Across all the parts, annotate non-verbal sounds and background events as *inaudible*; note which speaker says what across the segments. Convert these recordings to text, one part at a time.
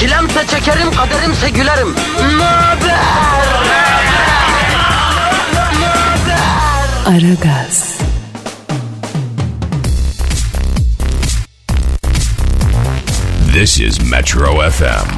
Speaker 1: Çilemse çekerim, kaderimse gülerim. Möber!
Speaker 2: Aragaz,
Speaker 3: This is Metro FM.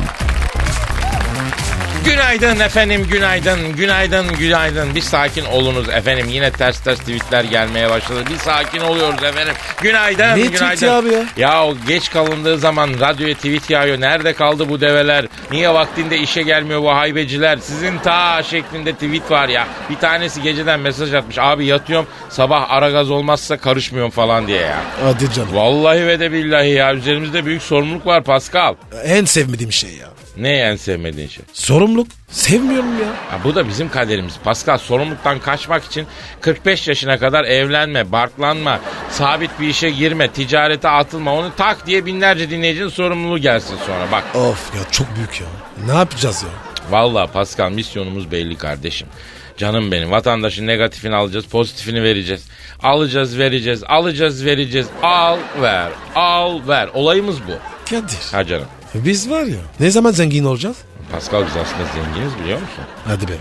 Speaker 4: Günaydın efendim, günaydın, günaydın, günaydın. Bir sakin olunuz efendim. Yine ters ters tweetler gelmeye başladı. Bir sakin oluyoruz efendim. Günaydın,
Speaker 5: Ne
Speaker 4: günaydın.
Speaker 5: tweeti abi ya?
Speaker 4: Ya o geç kalındığı zaman radyoya tweet yağıyor. Nerede kaldı bu develer? Niye vaktinde işe gelmiyor bu haybeciler? Sizin ta şeklinde tweet var ya. Bir tanesi geceden mesaj atmış. Abi yatıyorum sabah ara gaz olmazsa karışmıyorum falan diye ya.
Speaker 5: Hadi canım.
Speaker 4: Vallahi ve de billahi ya. Üzerimizde büyük sorumluluk var Pascal.
Speaker 5: En sevmediğim şey ya.
Speaker 4: Ne en sevmediğin şey?
Speaker 5: Sorumluluk. Sevmiyorum ya.
Speaker 4: Ha, bu da bizim kaderimiz. Pascal sorumluluktan kaçmak için 45 yaşına kadar evlenme, barklanma, sabit bir işe girme, ticarete atılma. Onu tak diye binlerce dinleyicinin sorumluluğu gelsin sonra. Bak
Speaker 5: Of ya çok büyük ya. Ne yapacağız ya?
Speaker 4: Vallahi Pascal misyonumuz belli kardeşim. Canım benim vatandaşın negatifini alacağız pozitifini vereceğiz. Alacağız vereceğiz alacağız vereceğiz al ver al ver olayımız bu.
Speaker 5: Kadir.
Speaker 4: Ha canım
Speaker 5: Biz var ya. Ne zaman zengin olacağız?
Speaker 4: Pascal biz aslında zenginiz biliyor musun?
Speaker 5: Hadi be.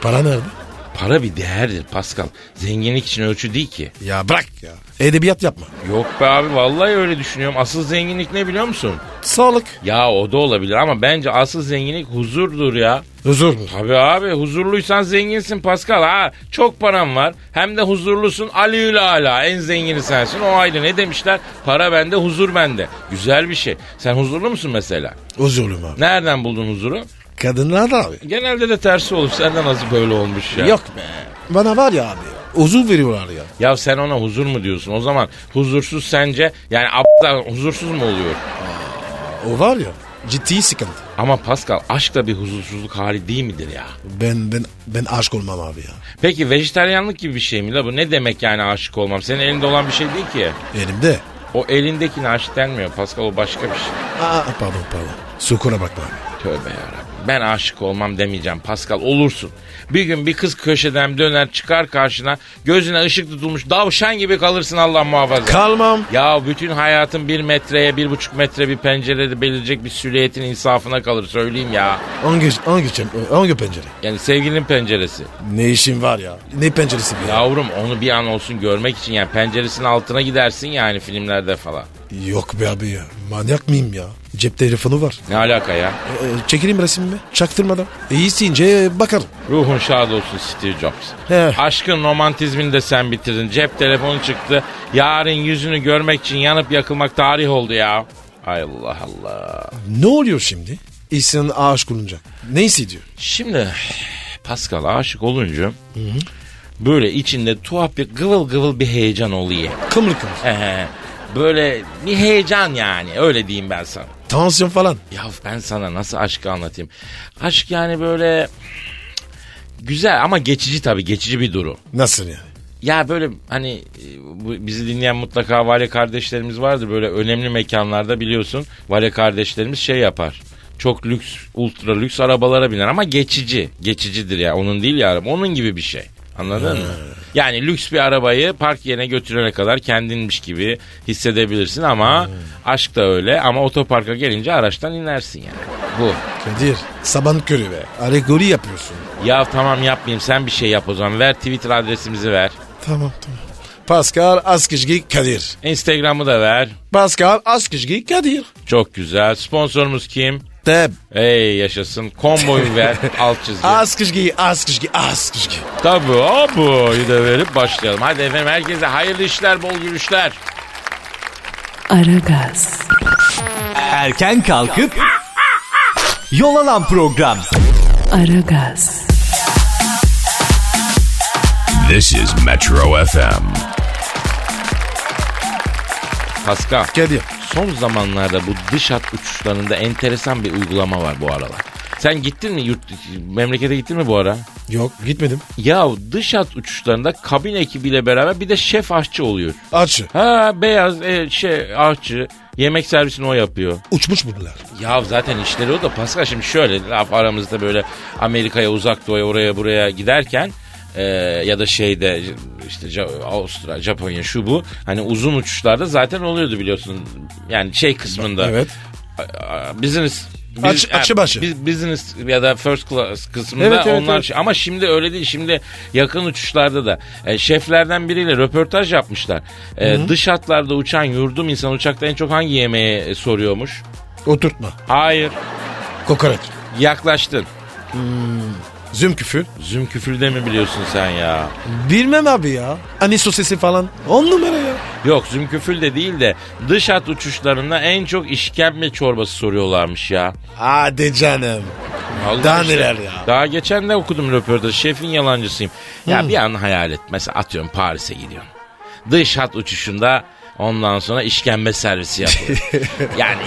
Speaker 5: Para nerede?
Speaker 4: Para bir değerdir Pascal. Zenginlik için ölçü değil ki.
Speaker 5: Ya bırak ya. Edebiyat yapma.
Speaker 4: Yok be abi vallahi öyle düşünüyorum. Asıl zenginlik ne biliyor musun?
Speaker 5: Sağlık.
Speaker 4: Ya o da olabilir ama bence asıl zenginlik huzurdur ya.
Speaker 5: Huzur mu?
Speaker 4: Tabii abi huzurluysan zenginsin Pascal ha. Çok param var hem de huzurlusun Aliül Ala en zengini sensin o ayrı ne demişler? Para bende huzur bende. Güzel bir şey. Sen huzurlu musun mesela?
Speaker 5: Huzurluyum abi.
Speaker 4: Nereden buldun huzuru?
Speaker 5: Kadınlar da abi.
Speaker 4: Genelde de tersi olur. Senden nasıl böyle olmuş ya?
Speaker 5: Yok be. Bana var ya abi. Huzur veriyorlar ya.
Speaker 4: Ya sen ona huzur mu diyorsun? O zaman huzursuz sence yani aptal huzursuz mu oluyor?
Speaker 5: O var ya. Ciddi sıkıntı.
Speaker 4: Ama Pascal aşk da bir huzursuzluk hali değil midir ya?
Speaker 5: Ben ben ben aşk olmam abi ya.
Speaker 4: Peki vejetaryenlik gibi bir şey mi la bu? Ne demek yani aşık olmam? Senin elinde olan bir şey değil ki.
Speaker 5: Elimde.
Speaker 4: O elindekine aşık denmiyor Pascal o başka bir
Speaker 5: Aa
Speaker 4: şey.
Speaker 5: Ah, pardon pardon. Sukuna bakma abi.
Speaker 4: Tövbe yarabbim. Ben aşık olmam demeyeceğim Pascal olursun. Bir gün bir kız köşeden döner çıkar karşına gözüne ışık tutulmuş davşan gibi kalırsın Allah muhafaza.
Speaker 5: Kalmam.
Speaker 4: ya bütün hayatın bir metreye bir buçuk metre bir pencerede belirecek bir süliyetin insafına kalır söyleyeyim ya.
Speaker 5: Hangi, hangi, çem- hangi pencere?
Speaker 4: Yani sevgilinin penceresi.
Speaker 5: Ne işin var ya? Ne penceresi bu ya?
Speaker 4: Yavrum onu bir an olsun görmek için yani penceresinin altına gidersin yani filmlerde falan.
Speaker 5: Yok be abi ya. Manyak mıyım ya? Cep telefonu var.
Speaker 4: Ne alaka ya?
Speaker 5: E, e, çekileyim resmimi. Çaktırmadan. E, isteyince bakarım.
Speaker 4: Ruhun şad olsun Steve Jobs.
Speaker 5: He.
Speaker 4: Aşkın romantizmini de sen bitirdin. Cep telefonu çıktı. Yarın yüzünü görmek için yanıp yakılmak tarih oldu ya. Ay Allah Allah.
Speaker 5: Ne oluyor şimdi? İnsan aşık olunca. Ne hissediyor?
Speaker 4: Şimdi Pascal aşık olunca böyle içinde tuhaf bir gıvıl gıvıl bir heyecan oluyor.
Speaker 5: Kımır kımır.
Speaker 4: Ehe. böyle bir heyecan yani öyle diyeyim ben sana.
Speaker 5: Tansiyon falan.
Speaker 4: Ya ben sana nasıl aşkı anlatayım? Aşk yani böyle güzel ama geçici tabii geçici bir durum.
Speaker 5: Nasıl yani?
Speaker 4: Ya böyle hani e, bu- bizi dinleyen mutlaka vale kardeşlerimiz vardır. Böyle önemli mekanlarda biliyorsun vale kardeşlerimiz şey yapar. Çok lüks, ultra lüks arabalara biner ama geçici. Geçicidir ya onun değil ya araba. Onun gibi bir şey. Anladın mı? Yani lüks bir arabayı park yerine götürene kadar kendinmiş gibi hissedebilirsin ama aşk da öyle ama otoparka gelince araçtan inersin yani. Bu.
Speaker 5: Kadir. Saban körü be. Alegori yapıyorsun.
Speaker 4: Ya tamam yapmayayım sen bir şey yap o zaman. Ver Twitter adresimizi ver.
Speaker 5: Tamam tamam. Pascal Askizgi Kadir.
Speaker 4: Instagram'ı da ver.
Speaker 5: Pascal Askizgi Kadir.
Speaker 4: Çok güzel. Sponsorumuz kim?
Speaker 5: Teb.
Speaker 4: Ey yaşasın. Komboyu ver alt çizgi.
Speaker 5: Askizgi, Askizgi, Askizgi.
Speaker 4: Tabii abuyu da verip başlayalım. Hadi efendim herkese hayırlı işler, bol gülüşler.
Speaker 2: Aragaz,
Speaker 6: Erken kalkıp yol alan program.
Speaker 2: Aragaz,
Speaker 3: This is Metro FM.
Speaker 4: Pascal.
Speaker 5: Kadir.
Speaker 4: Son zamanlarda bu dış hat uçuşlarında enteresan bir uygulama var bu aralar. Sen gittin mi yurt memlekete gittin mi bu ara?
Speaker 5: Yok gitmedim.
Speaker 4: Ya dış hat uçuşlarında kabin ekibiyle beraber bir de şef aşçı oluyor.
Speaker 5: Açı.
Speaker 4: Ha beyaz e, şey aşçı yemek servisini o yapıyor.
Speaker 5: Uçmuş bunlar.
Speaker 4: Ya zaten işleri o da Pascal şimdi şöyle laf aramızda böyle Amerika'ya uzak doğuya oraya buraya giderken e, ya da şeyde işte Ja- Avustra, Japonya şu bu hani uzun uçuşlarda zaten oluyordu biliyorsun yani şey kısmında
Speaker 5: Evet.
Speaker 4: a- business biz-
Speaker 5: Aç- açı başı.
Speaker 4: biz- business ya da first class kısmında
Speaker 5: Evet, evet,
Speaker 4: onlar
Speaker 5: evet.
Speaker 4: şey- ama şimdi öyle değil. Şimdi yakın uçuşlarda da e, şeflerden biriyle röportaj yapmışlar. E, dış hatlarda uçan yurdum insan uçakta en çok hangi yemeği e, soruyormuş?
Speaker 5: Oturtma.
Speaker 4: Hayır.
Speaker 5: Kokoreç.
Speaker 4: Yaklaştın.
Speaker 5: Züm küfür.
Speaker 4: Zümküfül'de mi biliyorsun sen ya?
Speaker 5: Bilmem abi ya. Aniso sesi falan. On numara ya.
Speaker 4: Yok zümküfül de değil de dış hat uçuşlarında en çok işkembe çorbası soruyorlarmış ya.
Speaker 5: Hadi canım.
Speaker 4: Allah
Speaker 5: Daha neler ya.
Speaker 4: Daha geçen de okudum röportajı. Şefin yalancısıyım. Ya bir an hayal et. Mesela atıyorum Paris'e gidiyorum. Dış hat uçuşunda ondan sonra işkembe servisi yapıyor. *laughs* yani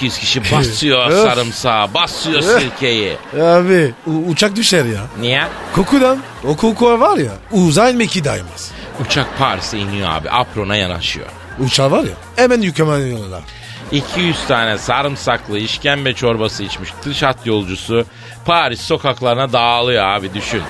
Speaker 4: 150-200 kişi basıyor
Speaker 5: Öf.
Speaker 4: sarımsağı, basıyor sirkeyi.
Speaker 5: Abi u- uçak düşer ya.
Speaker 4: Niye?
Speaker 5: Kokudan. O koku var ya. Uzay meki daymaz.
Speaker 4: Uçak Paris'e iniyor abi. Aprona yanaşıyor.
Speaker 5: Uçağı var ya. Hemen yükümleniyorlar.
Speaker 4: 200 tane sarımsaklı işkembe çorbası içmiş dış hat yolcusu Paris sokaklarına dağılıyor abi düşün.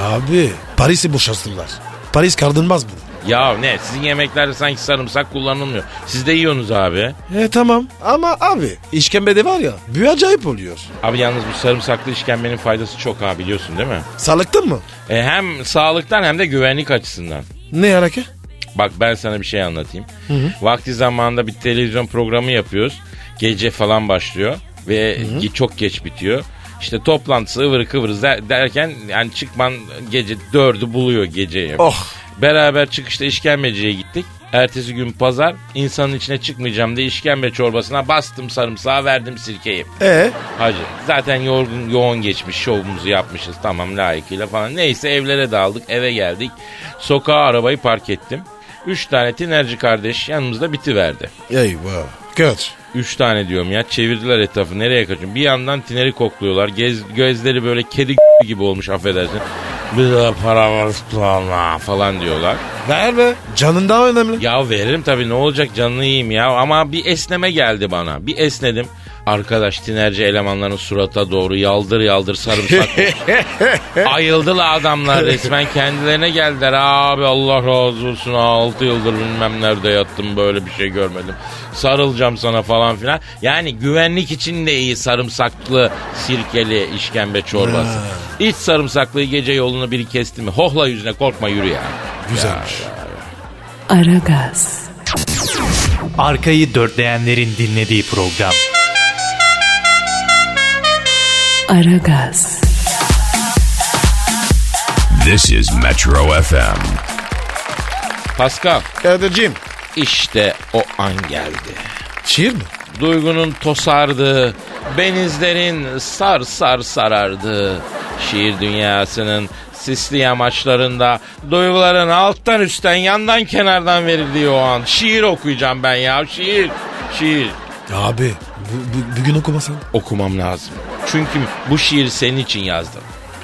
Speaker 5: Abi Paris'i boşaltırlar. Paris kaldırmaz bunu.
Speaker 4: Ya ne sizin yemeklerde sanki sarımsak kullanılmıyor. Siz de yiyorsunuz abi.
Speaker 5: E tamam ama abi işkembede var ya büyü acayip oluyor.
Speaker 4: Abi yalnız bu sarımsaklı işkembenin faydası çok abi biliyorsun değil mi?
Speaker 5: Sağlıktın mı?
Speaker 4: E, hem sağlıktan hem de güvenlik açısından.
Speaker 5: Ne hareket?
Speaker 4: Bak ben sana bir şey anlatayım. Vakti zamanında bir televizyon programı yapıyoruz. Gece falan başlıyor ve ge- çok geç bitiyor. İşte toplantısı ıvır kıvır der- derken yani çıkman gece dördü buluyor geceyi.
Speaker 5: Oh
Speaker 4: Beraber çıkışta işkembeciye gittik. Ertesi gün pazar insanın içine çıkmayacağım diye işkembe çorbasına bastım sarımsağı verdim sirkeyi.
Speaker 5: e
Speaker 4: Hacı zaten yorgun yoğun geçmiş şovumuzu yapmışız tamam layıkıyla falan. Neyse evlere dağıldık eve geldik. Sokağa arabayı park ettim. Üç tane tinerci kardeş yanımızda bitiverdi.
Speaker 5: eyvah kötü.
Speaker 4: Üç tane diyorum ya çevirdiler etrafı nereye kaçın. Bir yandan tineri kokluyorlar. Gez, gözleri böyle kedi gibi olmuş affedersin. Bir de para var falan- falan diyorlar.
Speaker 5: Ver be canın daha önemli.
Speaker 4: Ya veririm tabii ne olacak canını yiyeyim ya. Ama bir esneme geldi bana. Bir esnedim. Arkadaş tinerci elemanların surata doğru yaldır yaldır sarımsak. Ayıldılar adamlar resmen kendilerine geldiler. Abi Allah razı olsun 6 yıldır bilmem nerede yattım böyle bir şey görmedim. Sarılacağım sana falan filan. Yani güvenlik için de iyi sarımsaklı sirkeli işkembe çorbası. İç sarımsaklı gece yolunu biri kesti mi? Hohla yüzüne korkma yürü ya.
Speaker 5: Güzelmiş.
Speaker 2: Aragaz,
Speaker 6: Arkayı dörtleyenlerin dinlediği program.
Speaker 2: Aragaz,
Speaker 3: This is Metro FM.
Speaker 4: Pascal.
Speaker 5: Kadir'cim
Speaker 4: İşte o an geldi.
Speaker 5: şiir mi?
Speaker 4: Duygunun tosardı, benizlerin sar sar sarardı. Şiir dünyasının sisli yamaçlarında duyguların alttan üstten yandan kenardan verildiği o an. Şiir okuyacağım ben ya şiir. Şiir
Speaker 5: Abi bu, bu- bugün okumasan.
Speaker 4: okumam lazım. Çünkü bu şiiri senin için yazdım.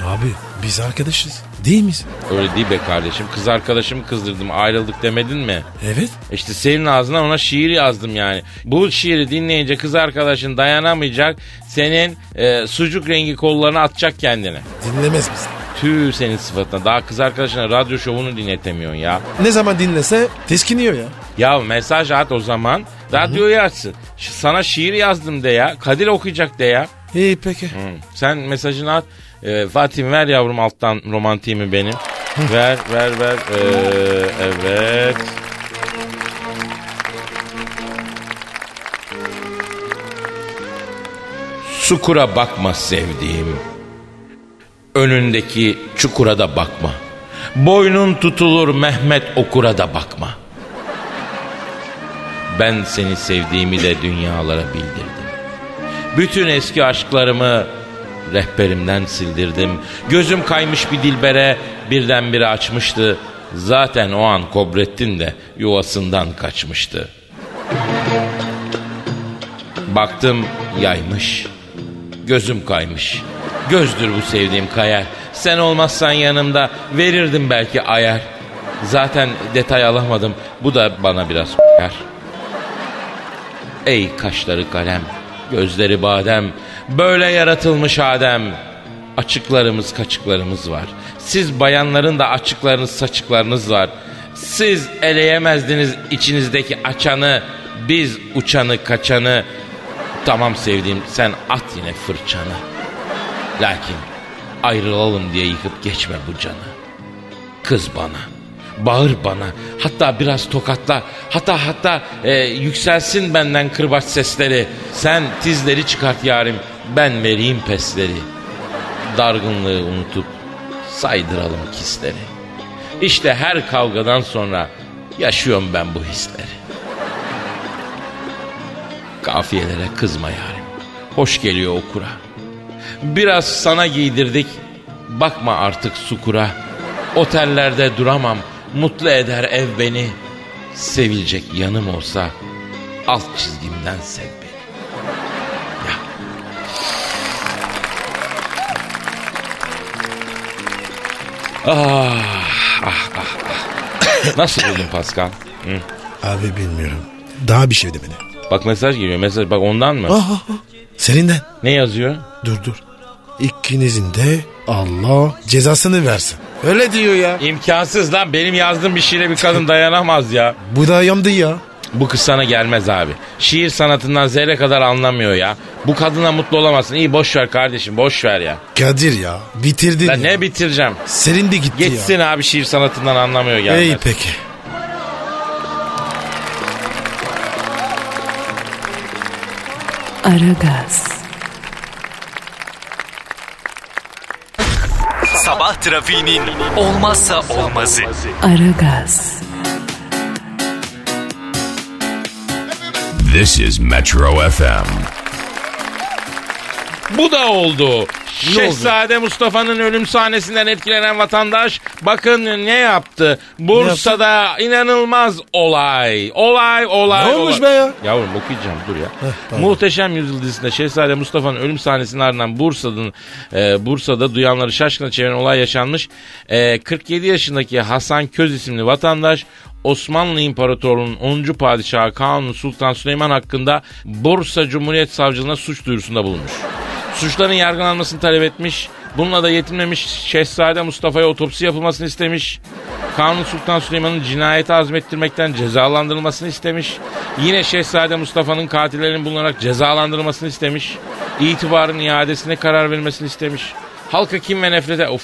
Speaker 5: Abi biz arkadaşız değil miyiz?
Speaker 4: Öyle değil be kardeşim. Kız arkadaşımı kızdırdım ayrıldık demedin mi?
Speaker 5: Evet.
Speaker 4: İşte senin ağzından ona şiir yazdım yani. Bu şiiri dinleyince kız arkadaşın dayanamayacak. Senin e, sucuk rengi kollarına atacak kendini.
Speaker 5: Dinlemez misin?
Speaker 4: Tüh senin sıfatına. Daha kız arkadaşına radyo şovunu dinletemiyorsun ya.
Speaker 5: Ne zaman dinlese teskiniyor ya.
Speaker 4: Ya mesaj at o zaman. Radyoyu açsın. Ş- Sana şiir yazdım de ya. Kadir okuyacak de ya.
Speaker 5: İyi peki.
Speaker 4: Hı. Hmm. Sen mesajını at. E, Fatih'im ver yavrum alttan romantiğimi benim. ver ver ver. Ee, evet. Sukura bakma sevdiğim. Önündeki çukura da bakma. Boynun tutulur Mehmet Okur'a da bakma. Ben seni sevdiğimi de dünyalara bildirdim. Bütün eski aşklarımı rehberimden sildirdim. Gözüm kaymış bir dilbere birdenbire açmıştı. Zaten o an Kobrettin de yuvasından kaçmıştı. Baktım yaymış. Gözüm kaymış. Gözdür bu sevdiğim kayar. Sen olmazsan yanımda verirdim belki ayar. Zaten detay alamadım. Bu da bana biraz kayar. Ey kaşları kalem, gözleri badem, böyle yaratılmış Adem. Açıklarımız kaçıklarımız var. Siz bayanların da açıklarınız saçıklarınız var. Siz eleyemezdiniz içinizdeki açanı, biz uçanı kaçanı. Tamam sevdiğim sen at yine fırçanı. Lakin ayrılalım diye yıkıp geçme bu canı. Kız bana. Bağır bana. Hatta biraz tokatla. Hatta hatta e, yükselsin benden kırbaç sesleri. Sen tizleri çıkart yarim. Ben vereyim pesleri. Dargınlığı unutup saydıralım hisleri. İşte her kavgadan sonra yaşıyorum ben bu hisleri. Kafiyelere kızma yarim. Hoş geliyor okura. Biraz sana giydirdik. Bakma artık sukura. Otellerde duramam. Mutlu eder ev beni. Sevilecek yanım olsa alt çizgimden sev beni. Ya. Ah, ah, ah, ah. Nasıl buldun Pascal?
Speaker 5: Abi bilmiyorum. Daha bir şey demedi.
Speaker 4: Bak mesaj geliyor mesaj. Bak ondan mı?
Speaker 5: Aha. Serinden.
Speaker 4: Ne yazıyor?
Speaker 5: Dur dur. İkinizin de Allah cezasını versin. Öyle diyor ya.
Speaker 4: İmkansız lan. Benim yazdığım bir şeyle bir kadın dayanamaz ya.
Speaker 5: Bu da yandı ya.
Speaker 4: Bu kız sana gelmez abi. Şiir sanatından zerre kadar anlamıyor ya. Bu kadına mutlu olamazsın. İyi boş ver kardeşim boş ver ya.
Speaker 5: Kadir ya. Bitirdin
Speaker 4: Ben
Speaker 5: ya.
Speaker 4: ne bitireceğim?
Speaker 5: Serin de gitti
Speaker 4: Geçsin abi şiir sanatından anlamıyor
Speaker 5: ya.
Speaker 4: gelmez.
Speaker 5: İyi peki.
Speaker 2: Aragaz,
Speaker 6: Sabah trafiğinin olmazsa olmazı.
Speaker 2: Aragaz,
Speaker 3: This is Metro FM.
Speaker 4: Bu da oldu. Şehzade Mustafa'nın ölüm sahnesinden etkilenen vatandaş bakın ne yaptı. Bursa'da inanılmaz olay. Olay olay.
Speaker 5: Ne olmuş
Speaker 4: olay.
Speaker 5: be ya?
Speaker 4: Yavrum okuyacağım dur ya. Muhteşem Yüzyıl dizisinde Şehzade Mustafa'nın ölüm sahnesinin ardından Bursa'nın e, Bursa'da duyanları şaşkına çeviren olay yaşanmış. E, 47 yaşındaki Hasan Köz isimli vatandaş Osmanlı İmparatorluğu'nun 10. padişahı Kanuni Sultan Süleyman hakkında Bursa Cumhuriyet Savcılığına suç duyurusunda bulunmuş. Suçların yargılanmasını talep etmiş. Bununla da yetinmemiş Şehzade Mustafa'ya otopsi yapılmasını istemiş. Kanuni Sultan Süleyman'ın cinayeti azmettirmekten cezalandırılmasını istemiş. Yine Şehzade Mustafa'nın katillerinin bulunarak cezalandırılmasını istemiş. İtibarın iadesine karar verilmesini istemiş. Halka kim ve nefrete... Of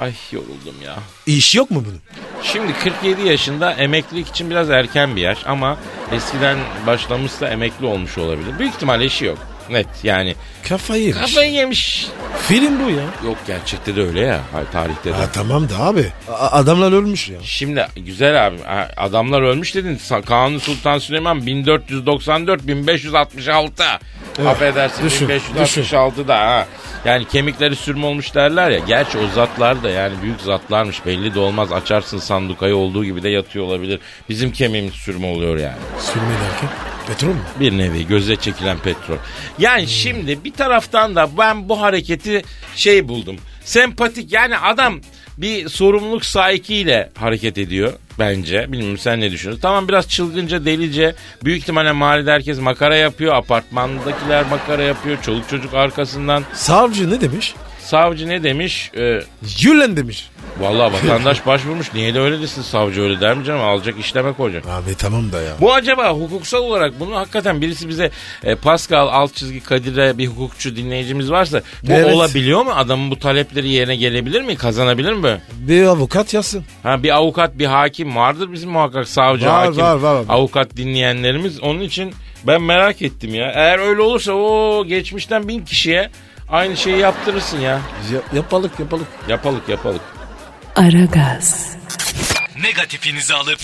Speaker 4: ay yoruldum ya.
Speaker 5: İş yok mu bunun?
Speaker 4: Şimdi 47 yaşında emeklilik için biraz erken bir yaş ama eskiden başlamışsa emekli olmuş olabilir. Büyük ihtimalle işi yok. Net yani.
Speaker 5: Kafayı yemiş.
Speaker 4: Kafayı yemiş.
Speaker 5: Film bu ya.
Speaker 4: Yok gerçekte de öyle ya. Hayır, tarihte de.
Speaker 5: Ha, tamam da abi. A- adamlar ölmüş ya.
Speaker 4: Şimdi güzel abi a- adamlar ölmüş dedin. Sa- Kanuni Sultan Süleyman 1494-1566. Affedersin
Speaker 5: düşün,
Speaker 4: 1566 da ha. Yani kemikleri sürme olmuş derler ya. Gerçi o zatlar da yani büyük zatlarmış belli de olmaz. Açarsın sandukayı olduğu gibi de yatıyor olabilir. Bizim kemiğimiz sürme oluyor yani.
Speaker 5: Sürme derken. Petrol mü?
Speaker 4: Bir nevi göze çekilen petrol. Yani şimdi bir taraftan da ben bu hareketi şey buldum. Sempatik yani adam bir sorumluluk sahikiyle hareket ediyor bence. Bilmiyorum sen ne düşünüyorsun? Tamam biraz çılgınca delice büyük ihtimalle mahallede herkes makara yapıyor. Apartmandakiler makara yapıyor. Çoluk çocuk arkasından.
Speaker 5: Savcı ne demiş?
Speaker 4: Savcı ne demiş? Ee,
Speaker 5: Yürülen demiş.
Speaker 4: Vallahi vatandaş başvurmuş. Niye de öyle desin savcı öyle der mi canım? Alacak işleme koyacak.
Speaker 5: Abi tamam da ya.
Speaker 4: Bu acaba hukuksal olarak bunu hakikaten birisi bize e, Pascal alt çizgi Kadir'e bir hukukçu dinleyicimiz varsa bu
Speaker 5: Evet.
Speaker 4: olabiliyor mu? Adamın bu talepleri yerine gelebilir mi? Kazanabilir mi?
Speaker 5: Bir avukat yazsın.
Speaker 4: Ha bir avukat, bir hakim vardır bizim muhakkak savcı,
Speaker 5: Var,
Speaker 4: hakim,
Speaker 5: var, var abi.
Speaker 4: avukat dinleyenlerimiz. Onun için ben merak ettim ya. Eğer öyle olursa o geçmişten bin kişiye aynı şeyi yaptırırsın ya.
Speaker 5: Ya- yapalık yapalık.
Speaker 4: Yapalık yapalık.
Speaker 2: Aragaz,
Speaker 6: Negatifinizi alıp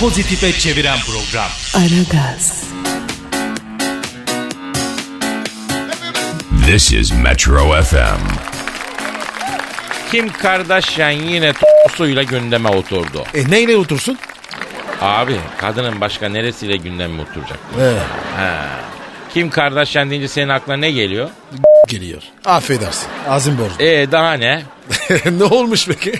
Speaker 6: pozitife çeviren program.
Speaker 2: Aragaz,
Speaker 3: This is Metro FM.
Speaker 4: Kim Kardashian yine t***suyla gündeme oturdu.
Speaker 5: E neyle otursun?
Speaker 4: Abi kadının başka neresiyle gündeme oturacak?
Speaker 5: Ee,
Speaker 4: Kim Kardashian deyince senin aklına ne geliyor?
Speaker 5: geliyor. Affedersin. Azim borcu.
Speaker 4: E daha ne?
Speaker 5: *laughs*
Speaker 4: E-
Speaker 5: ne olmuş peki?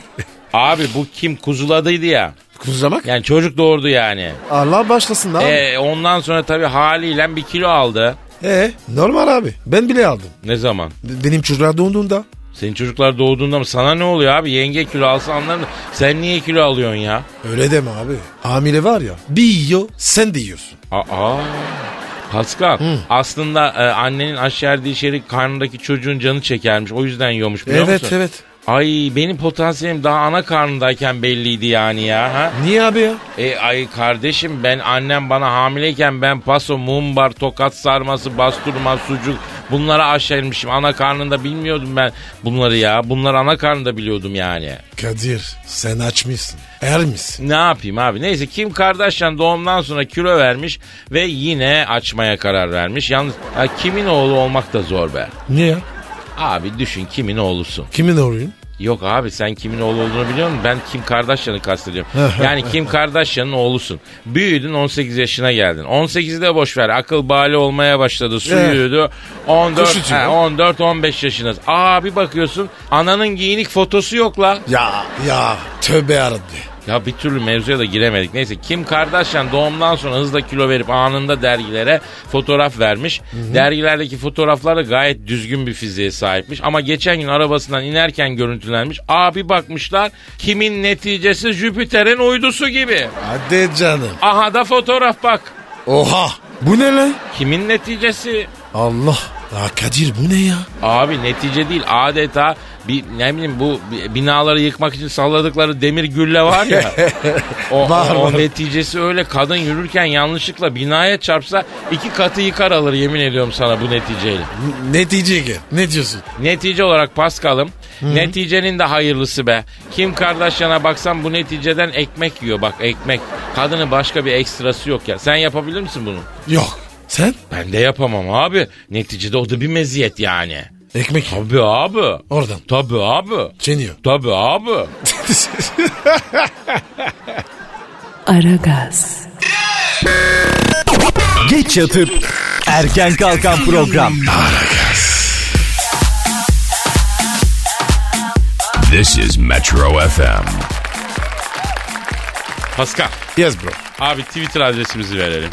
Speaker 4: Abi bu kim kuzuladıydı ya.
Speaker 5: Kuzlamak.
Speaker 4: Yani çocuk doğurdu yani.
Speaker 5: Allah başlasın abi. Ee,
Speaker 4: E ondan sonra tabii haliyle bir kilo aldı.
Speaker 5: E, normal abi. Ben bile aldım.
Speaker 4: Ne zaman?
Speaker 5: B- Benim çocuklar doğduğunda.
Speaker 4: Senin çocuklar doğduğunda mı? Sana ne oluyor abi? Yenge kilo alsa anlarım. da Sen niye kilo alıyorsun ya?
Speaker 5: Öyle deme abi. Hamile var ya. Bir yiyor sen de yiyorsun.
Speaker 4: Aa. Pascal aslında e, annenin aşerdiği şeri karnındaki çocuğun canı çekermiş. O yüzden yiyormuş biliyor
Speaker 5: evet
Speaker 4: musun?
Speaker 5: evet.
Speaker 4: Ay benim potansiyelim daha ana karnındayken belliydi yani ya. Ha?
Speaker 5: Niye abi ya?
Speaker 4: E ay kardeşim ben annem bana hamileyken ben paso, mumbar, tokat sarması, basturma, sucuk bunlara aşermişim. Ana karnında bilmiyordum ben bunları ya. Bunları ana karnında biliyordum yani.
Speaker 5: Kadir sen açmışsın. Er misin?
Speaker 4: Ne yapayım abi? Neyse Kim Kardashian doğumdan sonra kilo vermiş ve yine açmaya karar vermiş. Yalnız ha, kimin oğlu olmak da zor be.
Speaker 5: Niye ya?
Speaker 4: Abi düşün kimin oğlusun.
Speaker 5: Kimin oğluyum?
Speaker 4: Yok abi sen kimin oğlu olduğunu biliyor musun? Ben Kim Kardashian'ı
Speaker 5: *laughs*
Speaker 4: kastediyorum. yani Kim Kardashian'ın oğlusun. Büyüdün 18 yaşına geldin. 18'de boş ver. Akıl bali olmaya başladı. Su
Speaker 5: Evet.
Speaker 4: yürüdü. 14
Speaker 5: Kuş uçuyor.
Speaker 4: he, 14 15 yaşınız. Aa bir bakıyorsun ananın giyinik fotosu yok la.
Speaker 5: Ya ya tövbe yarabbim.
Speaker 4: Ya bir türlü mevzuya da giremedik. Neyse Kim Kardashian doğumdan sonra hızla kilo verip anında dergilere fotoğraf vermiş. Dergilerdeki fotoğraflar da gayet düzgün bir fiziğe sahipmiş. Ama geçen gün arabasından inerken görüntülenmiş. Abi bakmışlar kimin neticesi Jüpiter'in uydusu gibi.
Speaker 5: Hadi canım.
Speaker 4: Aha da fotoğraf bak.
Speaker 5: Oha. Bu ne lan?
Speaker 4: Kimin neticesi?
Speaker 5: Allah. Ya Kadir bu ne ya?
Speaker 4: Abi netice değil adeta bir ne bileyim bu bi- binaları yıkmak için salladıkları demir gülle
Speaker 5: *laughs*
Speaker 4: var ya. o,
Speaker 5: Var,
Speaker 4: o- o
Speaker 5: var.
Speaker 4: neticesi öyle kadın yürürken yanlışlıkla binaya çarpsa iki katı yıkar alır yemin ediyorum sana bu neticeyle.
Speaker 5: N- Netice gel. Ne diyorsun?
Speaker 4: Netice olarak Paskal'ım neticenin de hayırlısı be. Kim Kardashian'a baksan bu neticeden ekmek yiyor bak ekmek. Kadının başka bir ekstrası yok ya. Sen yapabilir misin bunu?
Speaker 5: Yok. Sen?
Speaker 4: Ben de yapamam abi. Neticede o da bir meziyet yani.
Speaker 5: Ekmek yap.
Speaker 4: Tabii abi.
Speaker 5: Oradan.
Speaker 4: Tabii abi.
Speaker 5: Çeniyor. *laughs*
Speaker 4: Tabii abi.
Speaker 2: Aragaz,
Speaker 6: Geç yatıp erken kalkan program.
Speaker 3: This is Metro FM.
Speaker 4: Pascal.
Speaker 5: yes bro.
Speaker 4: Abi Twitter adresimizi verelim.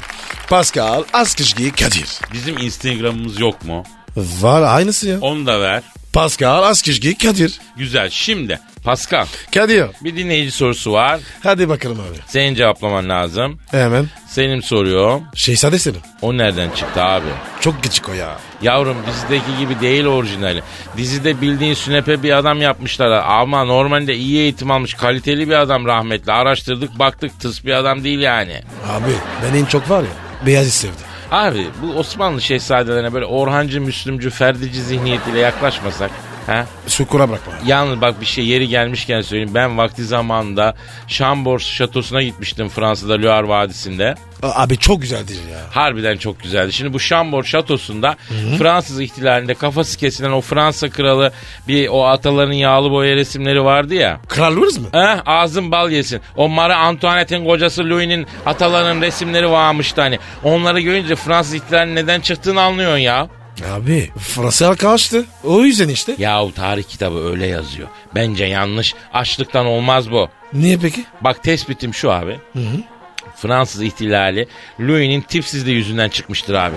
Speaker 5: Pascal Askışgi Kadir.
Speaker 4: Bizim Instagram'ımız yok mu?
Speaker 5: Var aynısı ya.
Speaker 4: Onu da ver.
Speaker 5: Pascal Askışgi Kadir.
Speaker 4: Güzel. Şimdi Pascal
Speaker 5: Kadir.
Speaker 4: bir dinleyici sorusu var.
Speaker 5: Hadi bakalım abi.
Speaker 4: Senin cevaplaman lazım.
Speaker 5: Hemen.
Speaker 4: Selim soruyor.
Speaker 5: Şehzade Selim.
Speaker 4: O nereden çıktı abi?
Speaker 5: Çok gıcık o ya.
Speaker 4: Yavrum dizideki gibi değil orijinali. Dizide bildiğin sünepe bir adam yapmışlar ama normalde iyi eğitim almış kaliteli bir adam rahmetli. Araştırdık baktık tıs bir adam değil yani.
Speaker 5: Abi ben en çok var ya. Beyazı sevdim.
Speaker 4: Abi bu Osmanlı şehzadelerine böyle Orhancı, Müslümcü, Ferdici zihniyetiyle yaklaşmasak. Ha?
Speaker 5: Sukura bırakma.
Speaker 4: Yalnız bak bir şey yeri gelmişken söyleyeyim. Ben vakti zamanında Chambord şatosuna gitmiştim Fransa'da Loire Vadisi'nde.
Speaker 5: A- Abi çok güzeldir ya.
Speaker 4: Harbiden çok güzeldi. Şimdi bu Chambord şatosunda Fransız ihtilalinde kafası kesilen o Fransa kralı bir o ataların yağlı boya resimleri vardı ya.
Speaker 5: Kral Louis mı?
Speaker 4: Eh, ağzın bal yesin. O Marie Antoinette'in kocası Louis'nin atalarının resimleri varmıştı hani. Onları görünce Fransız ihtilalinin neden çıktığını anlıyorsun ya.
Speaker 5: Abi Fransa halka açtı. O yüzden işte.
Speaker 4: Yahu tarih kitabı öyle yazıyor. Bence yanlış. Açlıktan olmaz bu.
Speaker 5: Niye peki?
Speaker 4: Bak tespitim şu abi. Fransız ihtilali Louis'nin tipsizliği yüzünden çıkmıştır abi.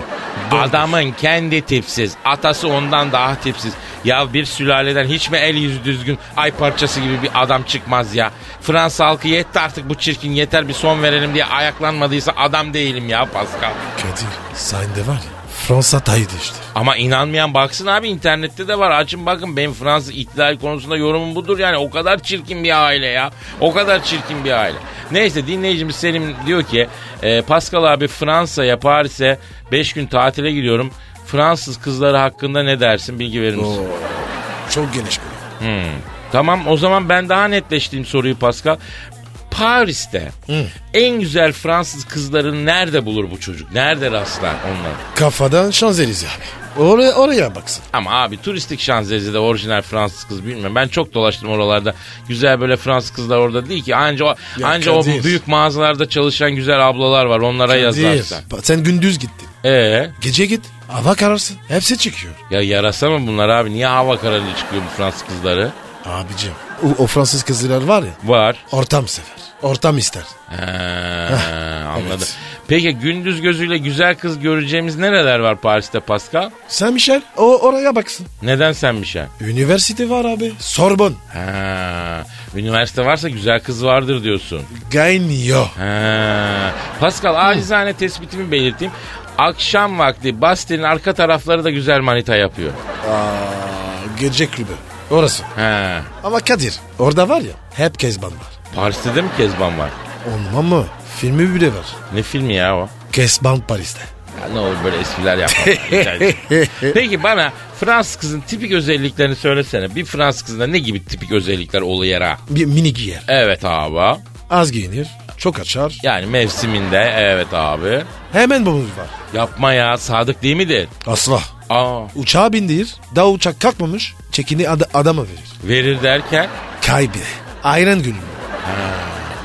Speaker 4: Adamın kendi tipsiz. Atası ondan daha tipsiz. Ya bir sülaleden hiç mi el yüzü düzgün ay parçası gibi bir adam çıkmaz ya. Fransa halkı yetti artık bu çirkin yeter bir son verelim diye ayaklanmadıysa adam değilim ya Pascal.
Speaker 5: Kadir sen de var ya. Fransa taydı işte.
Speaker 4: Ama inanmayan baksın abi internette de var. Açın bakın benim Fransız ihtilal konusunda yorumum budur. Yani o kadar çirkin bir aile ya. O kadar çirkin bir aile. Neyse dinleyicimiz Selim diyor ki e, Pascal abi Fransa'ya Paris'e 5 gün tatile gidiyorum. Fransız kızları hakkında ne dersin bilgi verir misin?
Speaker 5: Çok geniş bir.
Speaker 4: Tamam o zaman ben daha netleştireyim soruyu Pascal. Paris'te en güzel Fransız kızlarını nerede bulur bu çocuk? Nerede rastlar onlara?
Speaker 5: Kafadan Şanzelize abi. Oraya, oraya baksın.
Speaker 4: Ama abi turistik Şanzelize'de orijinal Fransız kız bilmiyorum. Ben çok dolaştım oralarda. Güzel böyle Fransız kızlar orada değil ki. Anca o,
Speaker 5: Ya
Speaker 4: anca o
Speaker 5: Kadir.
Speaker 4: büyük mağazalarda çalışan güzel ablalar var. Onlara yazarsan.
Speaker 5: Kadir, Sen gündüz gittin.
Speaker 4: Ee,
Speaker 5: Gece git. Hava kararsın. Hepsi çıkıyor.
Speaker 4: Ya yarasa mı bunlar abi? Niye hava kararlı çıkıyor bu Fransız kızları?
Speaker 5: Abicim o, o Fransız kızlar var ya
Speaker 4: Var.
Speaker 5: ortam sever. Ortam ister. *laughs*
Speaker 4: He, anladım. Peki gündüz gözüyle güzel kız göreceğimiz nereler var Paris'te Pascal?
Speaker 5: Sen Michel o oraya baksın.
Speaker 4: Neden sen bir şey?
Speaker 5: Üniversite var abi. Sorbon.
Speaker 4: Ha, üniversite varsa güzel kız vardır diyorsun.
Speaker 5: Gaynio.
Speaker 4: Ha. Pascal acizane tespitimi belirteyim. Akşam vakti Bastil'in arka tarafları da güzel manita yapıyor.
Speaker 5: Aa, gece kulübü. Orası.
Speaker 4: Ha.
Speaker 5: Ama Kadir orada var ya hep Kezban var.
Speaker 4: Paris'te de mi Kezban var?
Speaker 5: Olmam mı? Filmi bile var.
Speaker 4: Ne filmi ya o?
Speaker 5: Kezban Paris'te.
Speaker 4: Ya ne olur böyle espriler yapma. *laughs* Peki bana Fransız kızın tipik özelliklerini söylesene. Bir Fransız kızında ne gibi tipik özellikler oluyor ha?
Speaker 5: Bir mini giyer.
Speaker 4: Evet abi.
Speaker 5: Az giyinir. Çok açar.
Speaker 4: Yani mevsiminde evet abi.
Speaker 5: Hemen babamız var.
Speaker 4: Yapma ya sadık değil midir?
Speaker 5: Asla.
Speaker 4: Aa
Speaker 5: Uçağa bindirir. Daha uçak kalkmamış. Çekini ad- adama verir.
Speaker 4: verir derken
Speaker 5: Kaybı. Ayran gülü.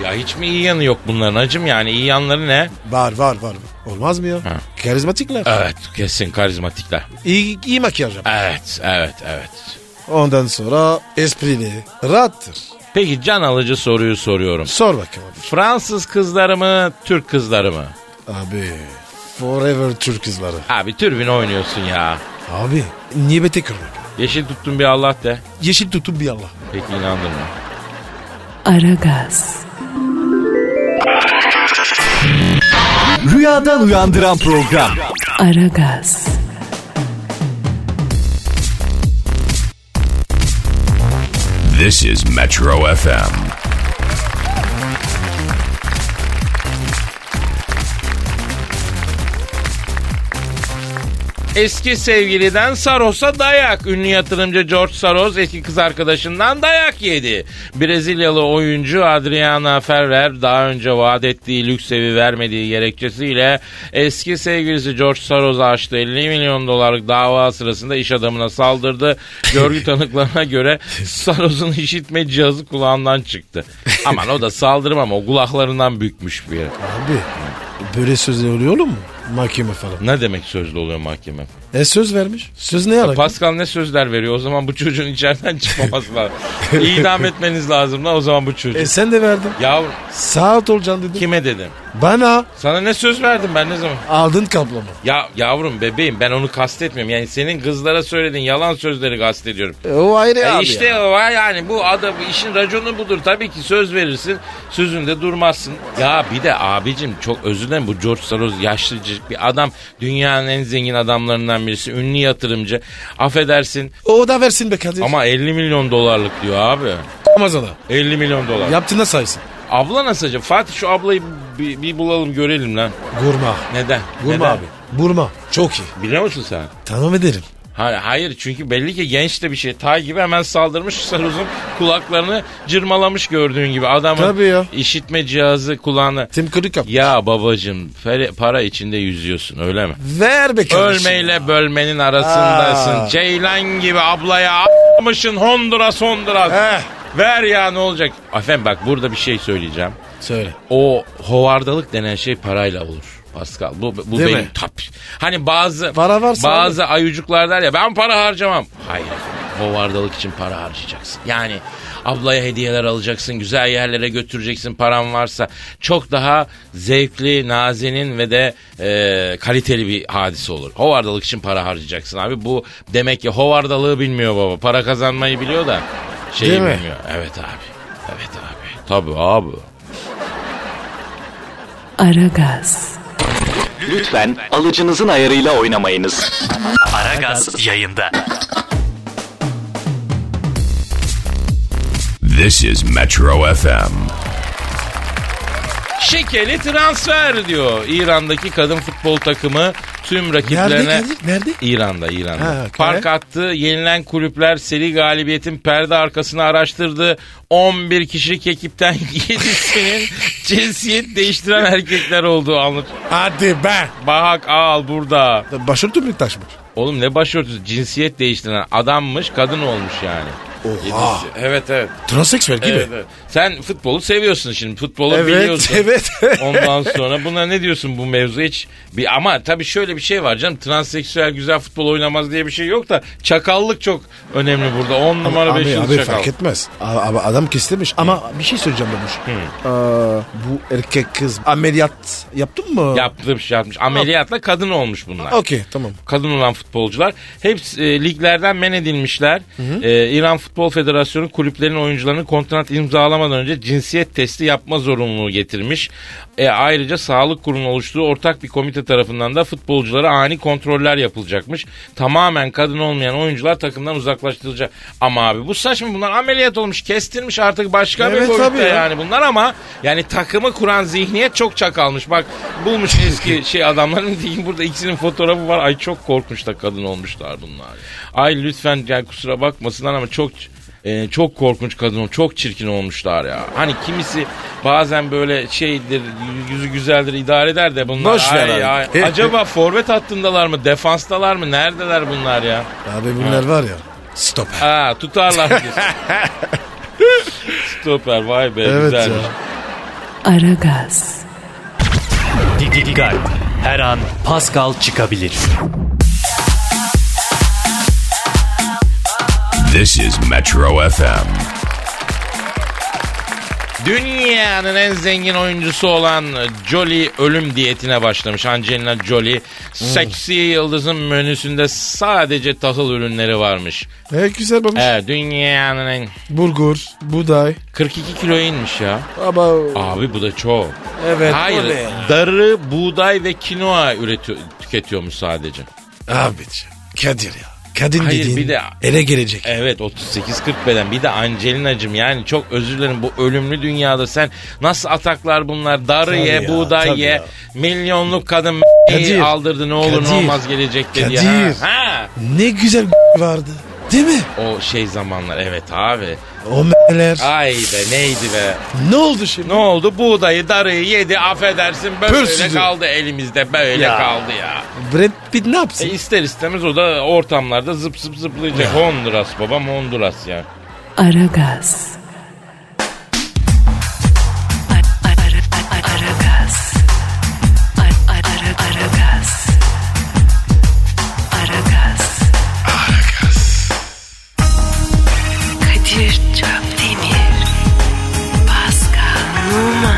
Speaker 4: ya hiç mi iyi yanı yok bunların acım yani iyi yanları ne?
Speaker 5: Var var var. Olmaz mı ya?
Speaker 4: Ha.
Speaker 5: Karizmatikler.
Speaker 4: Evet kesin karizmatikler.
Speaker 5: İyi, iyi makyaj yapar.
Speaker 4: Evet evet evet.
Speaker 5: Ondan sonra esprili. Rahattır.
Speaker 4: Peki can alıcı soruyu soruyorum.
Speaker 5: Sor bakalım.
Speaker 4: Fransız kızları mı Türk kızları mı?
Speaker 5: Abi. Forever Türk kızları.
Speaker 4: Abi türbin oynuyorsun ya.
Speaker 5: Abi. Niyebete kırmak.
Speaker 4: Yeşil tuttun bir Allah de.
Speaker 5: Yeşil tutun bir Allah.
Speaker 4: Peki inandırma.
Speaker 2: Aragaz,
Speaker 6: Rüyadan uyandıran program.
Speaker 2: Aragaz,
Speaker 3: This is Metro FM.
Speaker 4: Eski sevgiliden Saros'a dayak. Ünlü yatırımcı George Saros eski kız arkadaşından dayak yedi. Brezilyalı oyuncu Adriana Ferrer daha önce vaat ettiği lüks evi vermediği gerekçesiyle eski sevgilisi George Saros'a açtığı 50 milyon dolarlık dava sırasında iş adamına saldırdı. Görgü tanıklarına göre Saros'un işitme cihazı kulağından çıktı. Aman o da saldırım ama o kulaklarından bükmüş bir yere.
Speaker 5: Abi. Böyle sözler oluyor mu? Mahkeme falan.
Speaker 4: Ne demek sözlü oluyor mahkeme?
Speaker 5: E söz vermiş. Söz ne alaka?
Speaker 4: Pascal ne sözler veriyor? O zaman bu çocuğun içeriden çıkmaması
Speaker 5: *laughs*
Speaker 4: lazım. İdam etmeniz lazım lan o zaman bu çocuğu.
Speaker 5: E sen de verdin.
Speaker 4: Yavrum
Speaker 5: Saat olacaksın dedim.
Speaker 4: kime dedim?
Speaker 5: Bana
Speaker 4: Sana ne söz verdim ben ne zaman?
Speaker 5: aldın kablonu.
Speaker 4: Ya yavrum bebeğim ben onu kastetmiyorum. Yani senin kızlara söylediğin yalan sözleri kastediyorum.
Speaker 5: E, o ayrı
Speaker 4: E
Speaker 5: abi
Speaker 4: işte
Speaker 5: ya.
Speaker 4: o var yani bu adam işin raconu budur. Tabii ki söz verirsin sözünde durmazsın. Ya bir de abicim çok özür dilerim bu George Soros yaşlıcık bir adam. Dünyanın en zengin adamlarından birisi. Ünlü yatırımcı. Affedersin
Speaker 5: O da versin be Kadir.
Speaker 4: ama 50 milyon dolarlık diyor abi.
Speaker 5: Ramazan'a.
Speaker 4: 50 milyon dolar.
Speaker 5: Yaptığına saysın.
Speaker 4: Abla nasıl acaba? Fatih şu ablayı bir, bir bulalım görelim lan.
Speaker 5: Gurma.
Speaker 4: Neden?
Speaker 5: Gurma
Speaker 4: Neden?
Speaker 5: abi. Burma. Çok iyi.
Speaker 4: Biliyor musun sen?
Speaker 5: Tamam ederim.
Speaker 4: Hayır, hayır çünkü belli ki genç de bir şey. Tay gibi hemen saldırmış *laughs* saruzun kulaklarını cırmalamış gördüğün gibi. Adamın
Speaker 5: Tabii ya.
Speaker 4: işitme cihazı kulağını.
Speaker 5: Tim Kırık yap.
Speaker 4: Ya babacım fere- para içinde yüzüyorsun öyle mi?
Speaker 5: Ver be kardeşim.
Speaker 4: Ölmeyle bölmenin arasındasın.
Speaker 5: Aa.
Speaker 4: Ceylan gibi ablaya a**mışın Honduras Honduras.
Speaker 5: Eh.
Speaker 4: Ver ya ne olacak? Efendim bak burada bir şey söyleyeceğim.
Speaker 5: Söyle.
Speaker 4: O hovardalık denen şey parayla olur. Pascal bu bu
Speaker 5: Değil
Speaker 4: benim
Speaker 5: mi?
Speaker 4: tap. Hani bazı
Speaker 5: Para varsa
Speaker 4: bazı ayucuklar der ya ben para harcamam. Hayır. Hovardalık için para harcayacaksın. Yani ablaya hediyeler alacaksın, güzel yerlere götüreceksin paran varsa. Çok daha zevkli, nazenin ve de e, kaliteli bir hadise olur. Hovardalık için para harcayacaksın abi. Bu demek ki hovardalığı bilmiyor baba. Para kazanmayı biliyor da şeyi
Speaker 5: Değil mi?
Speaker 4: bilmiyor. Evet abi. Evet abi. Tabii abi.
Speaker 2: Aragaz,
Speaker 7: Lütfen alıcınızın ayarıyla oynamayınız. Aragaz yayında.
Speaker 3: This is Metro FM.
Speaker 4: Şekeli transfer diyor. İran'daki kadın futbol takımı tüm
Speaker 5: Nerede
Speaker 4: rakiplerine...
Speaker 5: Kadir? Nerede?
Speaker 4: İran'da, İran'da.
Speaker 5: Ha, kare.
Speaker 4: Park attı, yenilen kulüpler seri galibiyetin perde arkasını araştırdı. 11 kişilik ekipten *laughs* 7'sinin cinsiyet değiştiren erkekler olduğu anlat.
Speaker 5: Hadi be.
Speaker 4: Bahak al burada.
Speaker 5: Başörtü mü taşmış?
Speaker 4: Oğlum ne başörtüsü cinsiyet değiştiren adammış kadın olmuş yani. Yedisi. Evet evet.
Speaker 5: Transseksüel gibi.
Speaker 4: Evet, evet. Sen futbolu seviyorsun şimdi. Futbolu
Speaker 5: Evet,
Speaker 4: biliyorsun.
Speaker 5: evet. *laughs*
Speaker 4: Ondan sonra buna ne diyorsun bu mevzu hiç? Bir, ama tabii şöyle bir şey var canım. Transseksüel güzel futbol oynamaz diye bir şey yok da çakallık çok önemli burada. 10 numara 5
Speaker 5: Abi,
Speaker 4: yıl
Speaker 5: abi
Speaker 4: çakal.
Speaker 5: fark etmez. A- Abi, adam kestirmiş. Ama bir şey söyleyeceğim Babuş. Aa, bu erkek kız ameliyat yaptın mı?
Speaker 4: Yaptım şey yapmış. Ameliyatla kadın olmuş bunlar.
Speaker 5: Okey tamam.
Speaker 4: kadın olan futbolcular hepsi e, liglerden men edilmişler. E, İran Futbol Federasyonu kulüplerin oyuncularını kontrat imzalamadan önce cinsiyet testi yapma zorunluluğu getirmiş. E, ayrıca sağlık kurumunun oluşturduğu ortak bir komite tarafından da futbolculara ani kontroller yapılacakmış. Tamamen kadın olmayan oyuncular takımdan uzaklaştırılacak. Ama abi bu saçma bunlar ameliyat olmuş kestirmiş artık başka bir
Speaker 5: Evet,
Speaker 4: boyutta
Speaker 5: tabii ya.
Speaker 4: yani bunlar ama yani takımı kuran zihniyet çok çakalmış. Bak bulmuş
Speaker 5: *laughs*
Speaker 4: eski şey adamların *laughs* diyeyim burada ikisinin fotoğrafı var. Ay çok korkmuş da kadın olmuşlar bunlar. Ay lütfen yani kusura bakmasınlar ama çok e, çok korkunç kadın ol- çok çirkin olmuşlar ya. Hani kimisi bazen böyle şeydir yüzü güzeldir idare eder de bunlar.
Speaker 5: Boş ver abi.
Speaker 4: ay,
Speaker 5: *laughs*
Speaker 4: ay, acaba forvet hattındalar mı defanstalar mı neredeler bunlar ya?
Speaker 5: Abi bunlar var ya. Stop.
Speaker 4: Aa
Speaker 5: *laughs*
Speaker 4: tutarlar diyorsun. Stoper vay be
Speaker 5: Evet
Speaker 4: güzelmiş.
Speaker 5: ya.
Speaker 2: Aragaz,
Speaker 6: Dikkat. Her an Pascal çıkabilir.
Speaker 3: This is Metro FM.
Speaker 4: Dünyanın en zengin oyuncusu olan Jolie ölüm diyetine başlamış. Angelina Jolie seksi yıldızın menüsünde sadece tahıl ürünleri varmış.
Speaker 5: E, güzel Babuş.
Speaker 4: Evet dünyanın en
Speaker 5: Bulgur, buğday.
Speaker 4: 42 kilo inmiş ya.
Speaker 5: Ama
Speaker 4: Abi bu da çok.
Speaker 5: evet. o
Speaker 4: Hayır
Speaker 5: ne?
Speaker 4: darı, buğday ve kinoa üretiyor, tüketiyormuş sadece.
Speaker 5: Abi Kadir ya. Kadın
Speaker 4: Hayır,
Speaker 5: dediğin
Speaker 4: bir de-
Speaker 5: ele gelecek.
Speaker 4: Evet 38-40 beden bir de Angelina'cım yani çok özür dilerim bu ölümlü dünyada sen nasıl ataklar bunlar darı
Speaker 5: Tabii
Speaker 4: ye
Speaker 5: ya,
Speaker 4: buğday
Speaker 5: tabii
Speaker 4: ye
Speaker 5: ya.
Speaker 4: milyonluk kadın
Speaker 5: Kadir,
Speaker 4: aldırdı ne olur
Speaker 5: Kadir,
Speaker 4: ne olmaz gelecek dedi
Speaker 5: Kadir.
Speaker 4: Ha, ha.
Speaker 5: Ne güzel *laughs* vardı. Değil mi?
Speaker 4: O şey zamanlar evet abi.
Speaker 5: O m***ler.
Speaker 4: Ay be neydi be.
Speaker 5: Ne oldu şimdi?
Speaker 4: Ne oldu buğdayı darıyı yedi affedersin böyle
Speaker 5: Pürsüzü.
Speaker 4: kaldı elimizde böyle
Speaker 5: Ya.
Speaker 4: kaldı ya.
Speaker 5: Brad Pitt ne yapsın?
Speaker 4: E ister istemez o da ortamlarda zıp zıp zıplayacak. Honduras babam Honduras ya.
Speaker 2: Aragaz. Ara- ara- ara- Aragaz. Ara- ara- Aragaz. Aragaz. Kadir Çöptemir. Pascal Numa.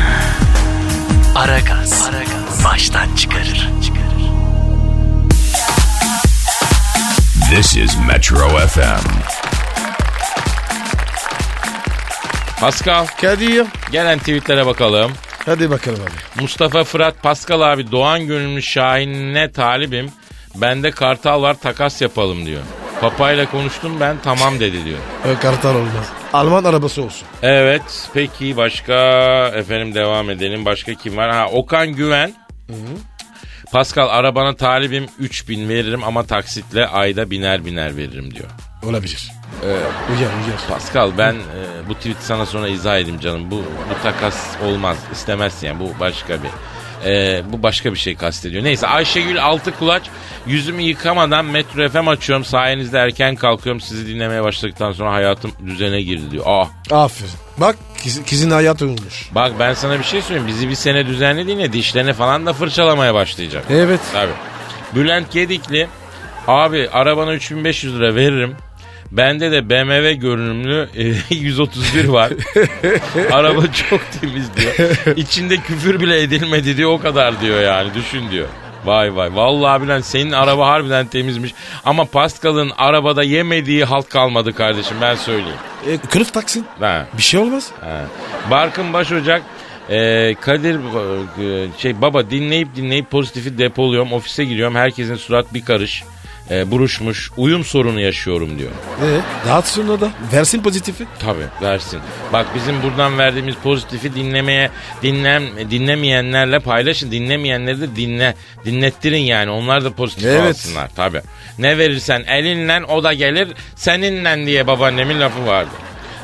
Speaker 7: Aragaz. Baştan çıkarır.
Speaker 3: This is Metro FM.
Speaker 4: Pascal
Speaker 5: Kadir.
Speaker 4: gelen tweetlere bakalım.
Speaker 5: Hadi bakalım abi.
Speaker 4: Mustafa Fırat Pascal abi Doğan Gönüllü Şahin'e talibim. Bende kartal var takas yapalım diyor. Papayla konuştum ben tamam dedi diyor.
Speaker 5: Ö, Kartal olmaz. Alman arabası olsun.
Speaker 4: Evet peki başka efendim devam edelim. Başka kim var? Ha Okan Güven. Pascal arabana talibim 3000 veririm ama taksitle ayda biner biner veririm diyor.
Speaker 5: Olabilir. Ee, uyar uyar.
Speaker 4: Pascal ben e, bu tweet sana sonra izah edeyim canım. Bu, bu takas olmaz. istemezsin yani. Bu başka bir e, bu başka bir şey kastediyor. Neyse Ayşegül altı kulaç yüzümü yıkamadan Metro FM açıyorum. Sayenizde erken kalkıyorum. Sizi dinlemeye başladıktan sonra hayatım düzene girdi diyor. Ah
Speaker 5: Aferin. Bak kız- kızın hayat olmuş.
Speaker 4: bak ben sana bir şey söyleyeyim. Bizi bir sene düzenlediğine dişlerini falan da fırçalamaya başlayacak.
Speaker 5: Evet.
Speaker 4: Tabii. Bülent Gedikli abi arabana 3500 lira veririm. Bende de BMW görünümlü e, *laughs* 131 var. Araba çok temiz diyor. İçinde küfür bile edilmedi diyor o kadar diyor yani düşün diyor. Vay vay vallahi Bülent senin araba harbiden temizmiş. Ama Pascal'ın arabada yemediği halt kalmadı kardeşim ben söyleyeyim.
Speaker 5: E, kılıf taksın.
Speaker 4: Ha.
Speaker 5: Bir şey olmaz.
Speaker 4: Ha. Barkın Başocak e, Kadir e, şey baba dinleyip dinleyip pozitifi depoluyorum. Ofise giriyorum. Herkesin surat bir karış. e, buruşmuş. Uyum sorunu yaşıyorum diyor.
Speaker 5: E, dağıtsın o da. Versin pozitifi.
Speaker 4: Tabii versin. Bak bizim buradan verdiğimiz pozitifi dinlemeye dinlem dinlemeyenlerle paylaşın. Dinlemeyenleri de dinle dinlettirin yani. Onlar da pozitif
Speaker 5: Evet.
Speaker 4: alsınlar tabii. Ne verirsen elinle o da gelir seninle diye babaannemin lafı vardı.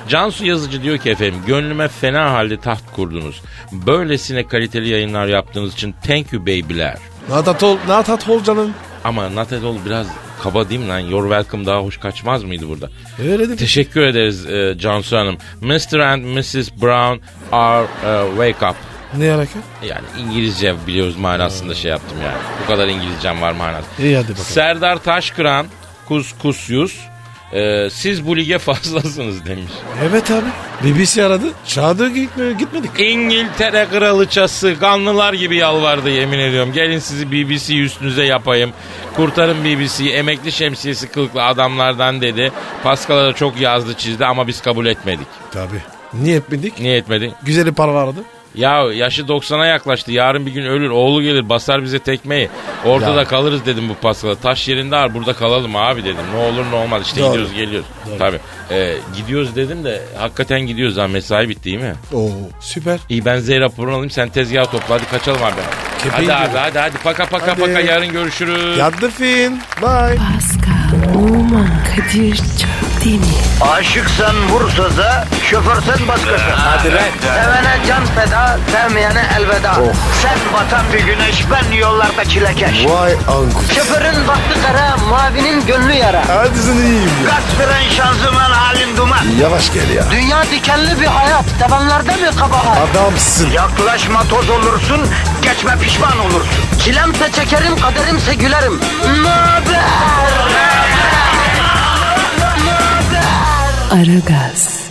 Speaker 4: Cansu Yazıcı diyor ki efendim gönlüme fena halde taht kurdunuz. Böylesine kaliteli yayınlar yaptığınız için thank you baby'ler.
Speaker 5: Natat ol, natat ol canım.
Speaker 4: Ama Natadol biraz kaba değil mi lan? Your welcome daha hoş kaçmaz mıydı burada?
Speaker 5: Öyle değil mi?
Speaker 4: Teşekkür ederiz e, Cansu Hanım. Mr. and Mrs. Brown are e, wake up.
Speaker 5: Ne alaka?
Speaker 4: Yani İngilizce biliyoruz manasında şey yaptım yani. Bu kadar İngilizcem var manasında.
Speaker 5: İyi hadi bakalım.
Speaker 4: Serdar Taşkıran, Kuskusyus, e, siz bu lige *laughs* fazlasınız demiş.
Speaker 5: Evet abi. BBC aradı. Çağdı gitme, gitmedik.
Speaker 4: İngiltere kraliçası kanlılar gibi yalvardı yemin ediyorum. Gelin sizi BBC üstünüze yapayım. Kurtarın BBC'yi emekli şemsiyesi kılıklı adamlardan dedi. Paskal'a da çok yazdı çizdi ama biz kabul etmedik.
Speaker 5: Tabii. Niye etmedik?
Speaker 4: Niye etmedi?
Speaker 5: Güzeli para vardı.
Speaker 4: Ya yaşı 90'a yaklaştı. Yarın bir gün ölür. Oğlu gelir basar bize tekmeyi. Ortada
Speaker 5: Ya.
Speaker 4: kalırız dedim bu Paskal'a. Taş yerinde ağır burada kalalım abi dedim. Ne olur ne olmaz işte
Speaker 5: Doğru.
Speaker 4: gidiyoruz geliyoruz. Tabii. Ee, gidiyoruz dedim de hakikaten gidiyoruz ha mesai bitti değil mi?
Speaker 5: Oo süper.
Speaker 4: İyi ben Z raporunu alayım sen tezgahı topla hadi kaçalım abi.
Speaker 5: Kepeği
Speaker 4: hadi abi
Speaker 5: diyorum.
Speaker 4: hadi hadi paka paka
Speaker 5: Hadi.
Speaker 4: paka yarın görüşürüz.
Speaker 5: Yattı fin. Bye.
Speaker 2: Pascal, Oman, Kadir çok değil mi?
Speaker 1: Aşıksan vursa da, şoförsen başkasın. Hadi
Speaker 5: lan. Oh.
Speaker 1: Sevene can feda, sevmeyene elveda. Sen batan bir güneş, ben yollarda çilekeş.
Speaker 5: Vay anku.
Speaker 1: Şoförün baktı kara, mavinin gönlü yara.
Speaker 5: Hadi sen iyiyim ya.
Speaker 1: Kasperen şanzıman halin duman.
Speaker 5: Yavaş gel ya.
Speaker 1: Dünya dikenli bir hayat, sevenlerde mi kabahar?
Speaker 5: Adamsın.
Speaker 1: Yaklaşma toz olursun, geçme pişman olursun. Çilemse çekerim, kaderimse gülerim. Möber!
Speaker 2: Aragaz.